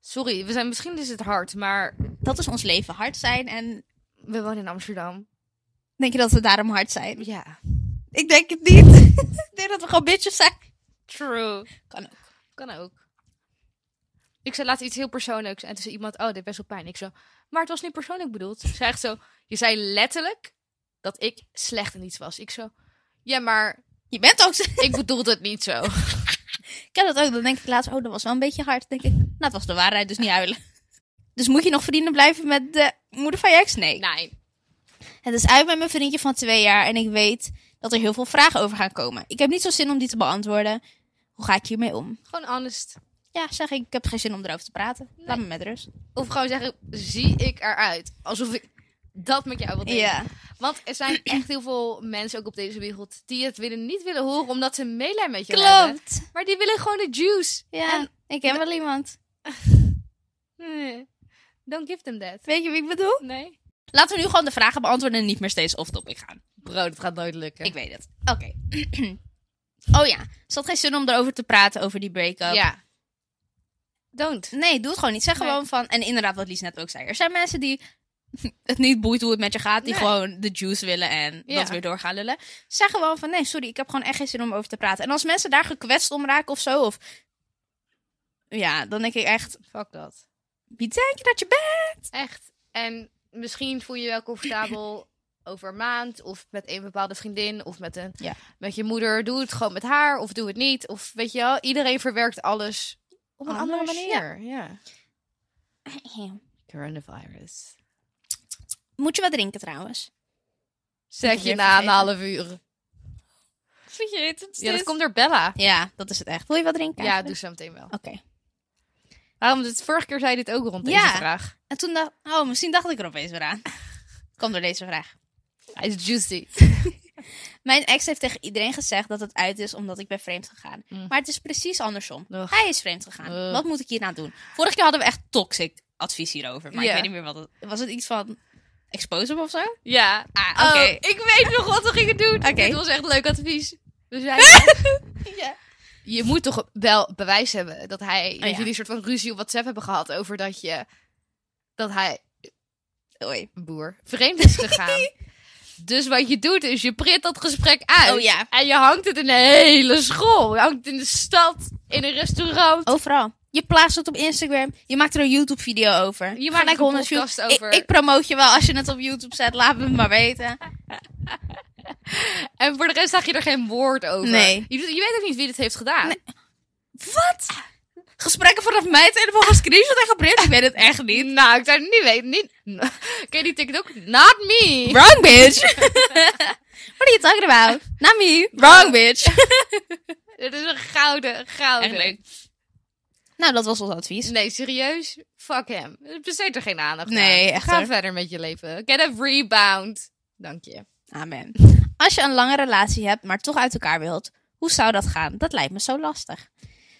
Sorry, we zijn, misschien is het hard, maar Dat is ons leven. Hard zijn en we wonen in Amsterdam. denk je dat we daarom hard zijn? Ja. Ik denk het niet. ik denk dat we gewoon bitches zijn. True. Kan ook. Kan ook. Ik zei laatst iets heel persoonlijks. En toen zei iemand, oh, dit is best wel pijn. Ik zo, maar het was niet persoonlijk bedoeld. Ze zei echt zo, je zei letterlijk dat ik slecht in iets was. Ik zo, ja, maar Je bent ook... zo- ik bedoelde het niet zo. Ik ken dat ook. Dan denk ik laatst, oh, dat was wel een beetje hard. Dan denk ik, nou, het was de waarheid, dus niet huilen. Dus moet je nog vrienden blijven met de moeder van je ex? Nee. Nee. Het is uit met mijn vriendje van twee jaar en ik weet dat er heel veel vragen over gaan komen. Ik heb niet zo zin om die te beantwoorden. Hoe ga ik hiermee om? Gewoon honest. Ja, zeg ik, ik heb geen zin om erover te praten. Laat me met rust. Of gewoon zeggen, zie ik eruit? Alsof ik dat met jou wil delen. Want er zijn echt heel veel mensen ook op deze wereld die het willen, niet willen horen omdat ze medelijden met je hebben. klopt. Maar die willen gewoon de juice. Ja, En- ik ken wel iemand. Nee. Don't give them that. Weet je wie ik bedoel? Nee. Laten we nu gewoon de vragen beantwoorden en niet meer steeds off-topic gaan. Bro, dat gaat nooit lukken. Ik weet het. Oké. oh ja, ze had geen zin om erover te praten, over die break-up. Ja. Don't. Nee, doe het gewoon niet. Zeg Nee. gewoon van. En inderdaad, wat Lies net ook zei. Er zijn mensen die het niet boeit hoe het met je gaat. Die Nee. gewoon de juice willen en Ja. dat weer doorgaan lullen. Zeg gewoon van nee, sorry, ik heb gewoon echt geen zin om over te praten. En als mensen daar gekwetst om raken of zo. Of... Ja, dan denk ik echt. Fuck dat. Wie denk je dat je bent? Echt. En misschien voel je je wel comfortabel over een maand of met een bepaalde vriendin of met, een, Ja. met je moeder. Doe het gewoon met haar of doe het niet. Of weet je wel, iedereen verwerkt alles op een andere Anders, manier. Ja. Coronavirus. Moet je wat drinken trouwens? Zeg je weer na een vergeten. half uur. Vergeet het. Ja, dat komt door Bella. ja, dat is het echt. dus- Wil je wat drinken? Ja, eigenlijk? doe zo meteen wel. Oké. Waarom? Dus vorige keer zei je dit ook rond deze Ja. vraag. En toen dacht oh, misschien dacht ik er opeens weer aan. Kom door deze vraag. Hij is juicy. Mijn ex heeft tegen iedereen gezegd dat het uit is omdat ik ben vreemd gegaan. Mm. Maar het is precies andersom. Ugh. Hij is vreemd gegaan. Ugh. Wat moet ik hierna doen? Vorige keer hadden we echt toxic advies hierover. Maar Ja. ik weet niet meer wat het... Was het iets van expose hem of zo? Ja. Ah, oké. Oh, ik weet nog wat we gingen doen. Oké. Ah! Dit was echt leuk advies. We zeiden, je moet toch wel bewijs hebben dat hij, dat Oh, ja. jullie een soort van ruzie op WhatsApp hebben gehad over dat je, dat hij, Oei. boer, vreemd is gegaan. dus wat je doet is, je print dat gesprek uit. Oh ja. En je hangt het in de hele school. Je hangt het in de stad, in een restaurant. dus- Overal. Je plaatst het op Instagram. Je maakt er een YouTube video over. Je maakt Gelijk er een 100 view- podcast Ik, over. ik promoot je wel als je het op YouTube zet. Laat me het maar weten. En voor de rest zag je er geen woord over. Nee. Je, doet- je weet ook niet wie dit heeft gedaan. Wat? Gesprekken vanaf mij telefoon van screenshot en geprint? Ik weet het echt niet. Nou, ik zou het niet weten. Niet... Ken je die TikTok? Not me. Wrong bitch. What are you talking about? Not me. Wrong bitch. Het is een gouden, gouden. Echt leuk. Nou, dat was ons advies. Nee, serieus? Fuck hem. Besteed er geen aandacht Nee, aan. echt Ga hoor. verder met je leven. Get a rebound. Dank je. Amen. Als je een lange relatie hebt, maar toch uit elkaar wilt, hoe zou dat gaan? Dat lijkt me zo lastig.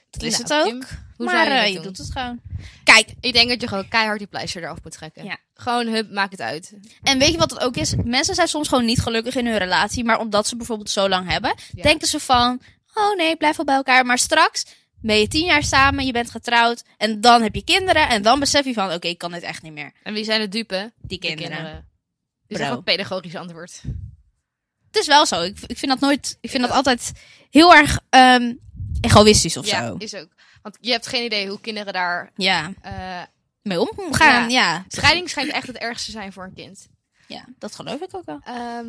Dat is Nou, het ook. Kim, hoe maar zou je, eh, dit je doen? doet het gewoon. Kijk, Ik denk dat je gewoon keihard die pleister eraf moet trekken. Ja. Gewoon, hup, maak het uit. en weet je wat het ook is? Mensen zijn soms gewoon niet gelukkig in hun relatie, maar omdat ze bijvoorbeeld zo lang hebben, Ja. denken ze van, oh nee, blijf wel bij elkaar. Maar straks ben je tien jaar samen, je bent getrouwd en dan heb je kinderen en dan besef je van, oké, ik kan dit echt niet meer. En wie zijn de dupe? Die De kinderen. Dit is Bro. echt een pedagogisch antwoord. Het is wel zo. Ik, ik vind dat nooit. Ik vind dat altijd heel erg ehm, egoïstisch of ja, zo. is ook. Want je hebt geen idee hoe kinderen daar... Ja. eh, Mee omgaan. Ja. Ja. scheiding schijnt echt het ergste te zijn voor een kind. dat geloof ik ook wel. Ehm,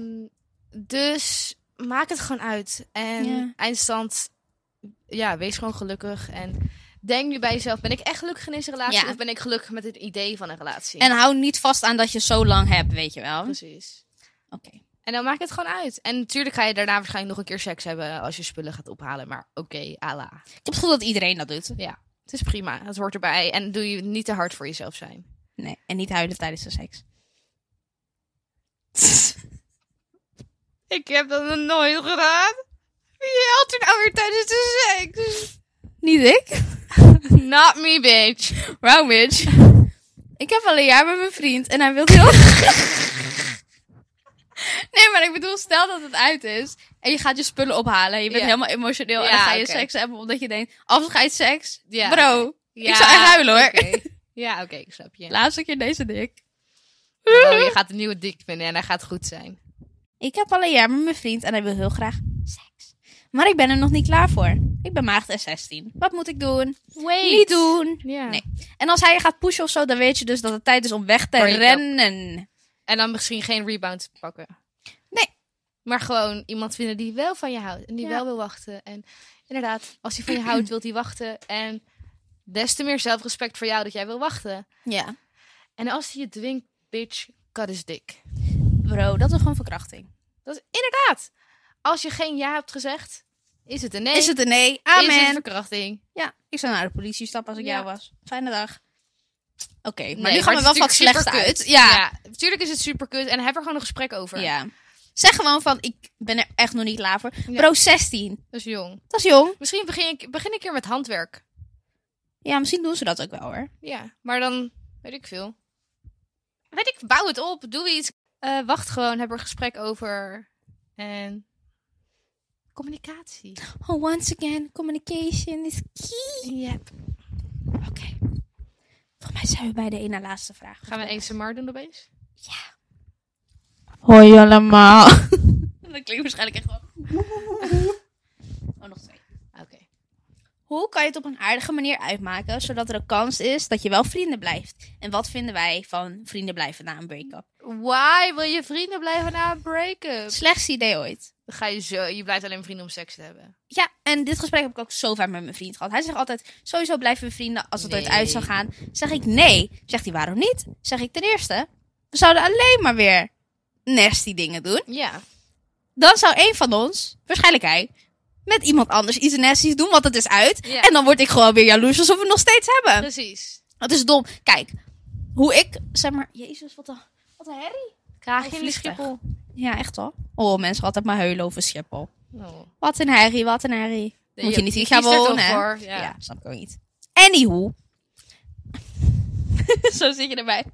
dus maak het gewoon uit. En Ja. eindstand, ja, wees gewoon gelukkig. En denk nu bij jezelf, ben ik echt gelukkig in deze relatie? Ja. Of ben ik gelukkig met het idee van een relatie? En hou niet vast aan dat je zo lang hebt, weet je wel. Oké. Precies. En dan maak het gewoon uit. En natuurlijk ga je daarna waarschijnlijk nog een keer seks hebben als je spullen gaat ophalen. Maar oké, ala. Ik heb het gevoel dat iedereen dat doet. Ja, het is prima. Het hoort erbij. En doe je niet te hard voor jezelf zijn. Nee. En niet huilen tijdens de seks. Ik heb dat nog nooit gedaan. Wie helpt er nou weer tijdens de seks? Niet ik? Not me, bitch. Wow, bitch. Ik heb al een jaar met mijn vriend en hij wil heel... nee, maar ik bedoel, stel dat het uit is en je gaat je spullen ophalen. en Je bent Ja. helemaal emotioneel en Ja, dan ga je oké. seks hebben omdat je denkt, afscheidsseks? Ja. Bro, Ja, ik zou echt huilen hoor. oké. Ja, oké, ik snap je. Laatste keer deze dik. Oh, je gaat een nieuwe dik vinden en hij gaat goed zijn. Ik heb al een jaar met mijn vriend en hij wil heel graag seks. Maar ik ben er nog niet klaar voor. Ik ben maagd en 16. Wat moet ik doen? Wait. Niet doen. Ja. Nee. En als hij je gaat pushen of zo, dan weet je dus dat het tijd is om weg te Break up. rennen. En dan misschien geen rebound pakken. Nee. Maar gewoon iemand vinden die wel van je houdt. En die Ja. wel wil wachten. En inderdaad, als hij van je houdt, wil hij wachten. En des te meer zelfrespect voor jou dat jij wil wachten. Ja. En als hij je dwingt, bitch, cut is dik. Bro, dat is gewoon verkrachting. Dat is inderdaad. Als je geen ja hebt gezegd, is het een nee. Is het een nee? Is het Amen. verkrachting? Ja, ik zou naar de politie stappen als ik Ja. jou was. Fijne dag. Oké, maar Nee, nu gaan we wel het is wat natuurlijk slecht uit. superkut. Ja. Natuurlijk is het super kut. En heb er gewoon een gesprek over. ja. Zeg gewoon van, ik ben er echt nog niet klaar voor. Ja. Bro, 16. Dus jong. Dat is jong. Misschien begin ik, begin ik hier met handwerk. Ja, misschien doen ze dat ook wel hoor. Ja, maar dan weet ik veel. Weet ik, bouw het op, doe iets. Eh, wacht gewoon, heb er een gesprek over. En communicatie. Oh, once again, communication is key. Yep. Oké. Volgens mij zijn we bij de ene laatste vraag. Gaan we ASMR doen opeens? Hoi allemaal. dat klinkt waarschijnlijk echt wel. Oh, nog twee. Oké. Hoe kan je het op een aardige manier uitmaken, zodat er een kans is dat je wel vrienden blijft? En wat vinden wij van vrienden blijven na een break-up? Why wil je vrienden blijven na een break-up? Slechtste idee ooit. Dan ga je zo, je blijft alleen vrienden om seks te hebben. Ja, en dit gesprek heb ik ook zo vaak met mijn vriend gehad. Hij zegt altijd, sowieso blijven we vrienden als het ooit Nee. uit zou gaan. Zeg ik nee. Zegt hij, waarom niet? Zeg ik ten eerste, we zouden alleen maar weer nasty dingen doen. Ja. Dan zou een van ons, waarschijnlijk hij, met iemand anders iets nasty's doen, want het is uit. Ja. En dan word ik gewoon weer jaloers alsof we het nog steeds hebben. Precies. Dat is dom. Kijk, hoe ik, zeg maar, jezus, wat een, wat een herrie. Kraag Oh, vliegtuig. Ja, echt wel. Oh, mensen altijd maar huilen over Schiphol. Oh. Wat een herrie, wat een herrie. Moet je niet hier gaan kiest er toch wonen, hè? voor, Ja. Ja. snap ik ook niet. Anywho. Zo zit je erbij.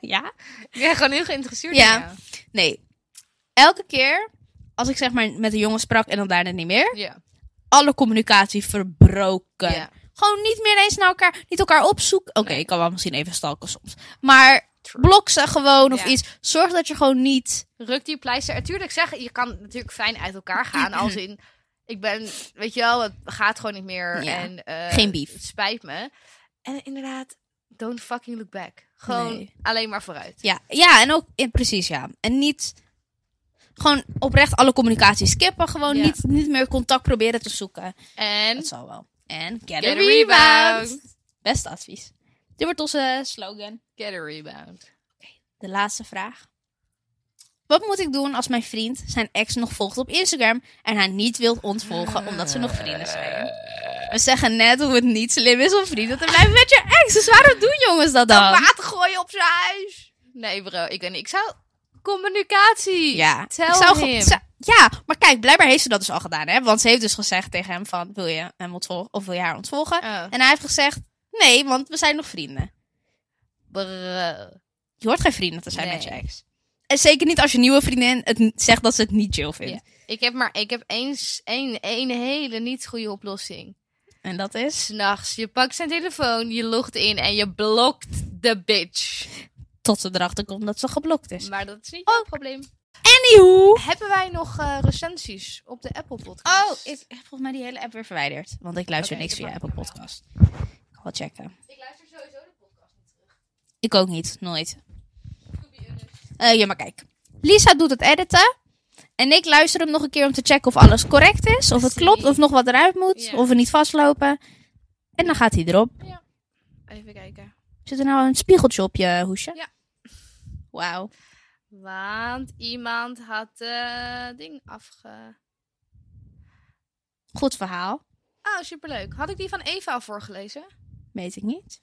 ja? Ik ben gewoon heel geïnteresseerd Ja. in jou. Nee. Elke keer als ik zeg maar met een jongen sprak en dan daarna niet meer, Ja. alle communicatie verbroken. Ja. Gewoon niet meer eens naar elkaar, niet elkaar opzoeken. Oké, Nee. ik kan wel misschien even stalken soms. Maar True. blok ze gewoon of Ja. iets. Zorg dat je gewoon niet... Ruk die pleister. En tuurlijk zeggen, je kan natuurlijk fijn uit elkaar gaan. Als in, ik ben, weet je wel, het gaat gewoon niet meer. Ja, En, eh, geen beef. Het spijt me. En inderdaad, don't fucking look back. Gewoon Nee. alleen maar vooruit. Ja, ja en ook... ja, precies, ja. En niet... Gewoon oprecht alle communicatie skippen. Gewoon Ja. niet, niet meer contact proberen te zoeken. En Dat zal wel. En Mhm. get, Get a a rebound. rebound. Beste advies. Dit wordt onze slogan. get a rebound. De laatste vraag. Wat moet ik doen als mijn vriend zijn ex nog volgt op Instagram en haar niet wilt ontvolgen omdat ze nog vrienden zijn? We zeggen net hoe het niet slim is om vrienden te blijven met je ex. Dus waarom doen jongens dat dan? Water gooien op zijn huis. Nee bro, ik weet niet. Ik zou... Communicatie. Ja, Tell ik zou ge- him. zou- ja, maar kijk, blijkbaar heeft ze dat dus al gedaan, hè? Want ze heeft dus gezegd tegen hem van, wil je hem ontvolgen of wil je haar ontvolgen? Oh. En hij heeft gezegd, nee, want we zijn nog vrienden. Bro. Je hoort geen vrienden te zijn Nee. met je ex. En zeker niet als je nieuwe vriendin het n- zegt dat ze het niet chill vindt. Ik heb maar, ik heb eens één één hele niet goede oplossing. En dat is S'nachts, je pakt zijn telefoon, je logt in en je blokt de bitch. tot ze erachter komt dat ze geblokt is. Maar dat is niet jouw Oh. probleem. Anywho. Hebben wij nog eh, recensies op de Apple Oh, Podcast? ik heb volgens mij die hele app weer verwijderd. Want ik luister Oké, niks dat via maakt Apple niet Podcast. Ik ga wel checken. luister sowieso de podcast niet terug. Ik ook niet. Nooit. Eh ja, maar kijk. Lisa doet het editen. En ik luister hem nog een keer om te checken of alles correct is. Of het klopt. Of nog wat eruit moet. Ja. Of we niet vastlopen. En dan gaat hij erop. Even kijken. Zit er nou een spiegeltje op je hoesje? Ja. Wauw. Want iemand had eh ding afge... Goed verhaal. Oh, superleuk. Had ik die van Eva al voorgelezen? Oh. Weet ik niet.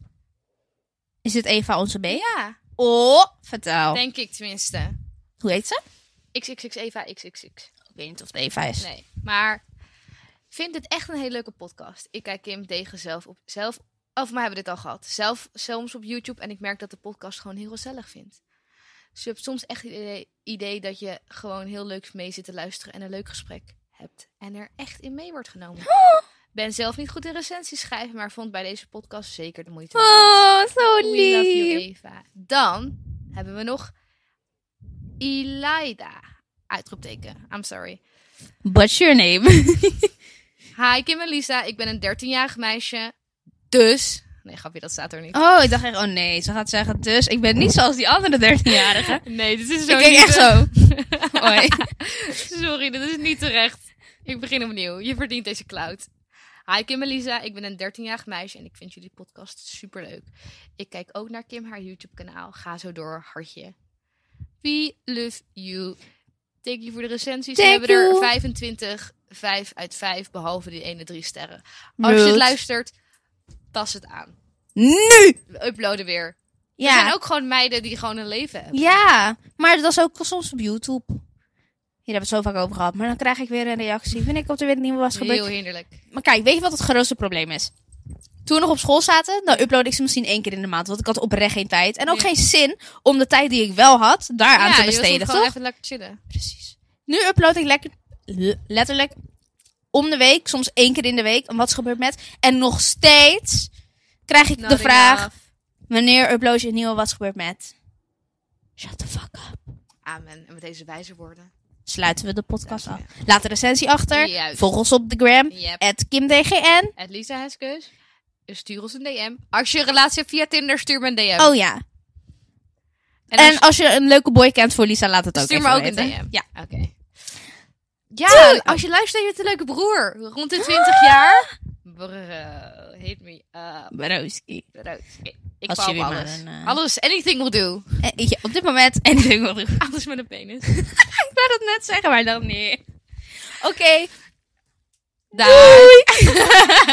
Is dit Eva onze B? Ja. Oh, vertel. Denk ik tenminste. Hoe heet ze? XXX Eva XXX. Ik weet niet of het Eva is. Nee, maar... vind dit echt een hele leuke podcast. Ik kijk Kim tegen zelf op zelf. Of maar hebben we dit al gehad. Zelf soms op YouTube. En ik merk dat de podcast gewoon heel gezellig vindt. Dus je hebt soms echt het idee, idee dat je gewoon heel leuk mee zit te luisteren. En een leuk gesprek hebt. En er echt in mee wordt genomen. Ben zelf niet goed in recensies schrijven. Maar vond bij deze podcast zeker de moeite. waard. Oh, zo We love you, lief. Eva. Dan hebben we nog Ilaida. Uitroepteken. I'm sorry. What's your name? Hi Kim en Lisa, ik ben een 13-jarig meisje. Dus. Nee, grapje, dat staat er niet. Oh, ik dacht echt, oh nee, ze gaat zeggen, dus ik ben niet zoals die andere 13-jarige. Nee, dit is Ik denk echt zo. Hoi. Sorry, dit is niet terecht. Ik begin opnieuw. Je verdient deze cloud. Hi Kim en Lisa, ik ben een 13-jarig meisje en ik vind jullie podcast superleuk. Ik kijk ook naar Kim haar YouTube-kanaal. Ga zo door, hartje. We love you. Thank you voor de recensies. We Thank hebben er you. 25, 5 uit 5, behalve die ene drie sterren. Oh, Als je het Rude. luistert, pas het aan. Nu! We uploaden weer. Er Ja. zijn ook gewoon meiden die gewoon een leven hebben. Ja, maar dat is ook soms op YouTube. Hier hebben we het zo vaak over gehad. Maar dan krijg ik weer een reactie. Vind ik op de weer nieuwe was gebeurd. Heel hinderlijk. Maar kijk, weet je wat het grootste probleem is? Toen we nog op school zaten, dan upload ik ze misschien één keer in de maand. Want ik had oprecht geen tijd. En ook Ja. geen zin om de tijd die ik wel had, daaraan te besteden, gewoon toch? even lekker chillen. Precies. Nu upload ik lekker, le- letterlijk om de week, soms één keer in de week. En wat is gebeurd met? En nog steeds krijg ik de vraag: wanneer upload je een nieuwe Wat is gebeurd met? Shut the fuck up. Amen. En met deze wijze woorden. Sluiten we de podcast af. Sluiten Laat de recensie achter. Juist. Volg ons op de gram. Yep. At KimDGN. At Lisa Heskes. Stuur ons een DM. Als je een relatie hebt via Tinder, stuur me een DM. Oh ja. en als En als je een leuke boy kent voor Lisa, laat het ook Stuur even me ook een weten. DM. Ja. je- Oké. Ja, als je luistert, heb je een leuke broer. Rond de 20 jaar. Bro, hit me up. Broski. Bro, Ik, ik Als wou jullie op maar alles. een, eh, Alles, anything will do. Eh, ja, op dit moment. En ik wil ik Alles met een penis. wou dat net zeggen, maar dan nee. Oké. Doei.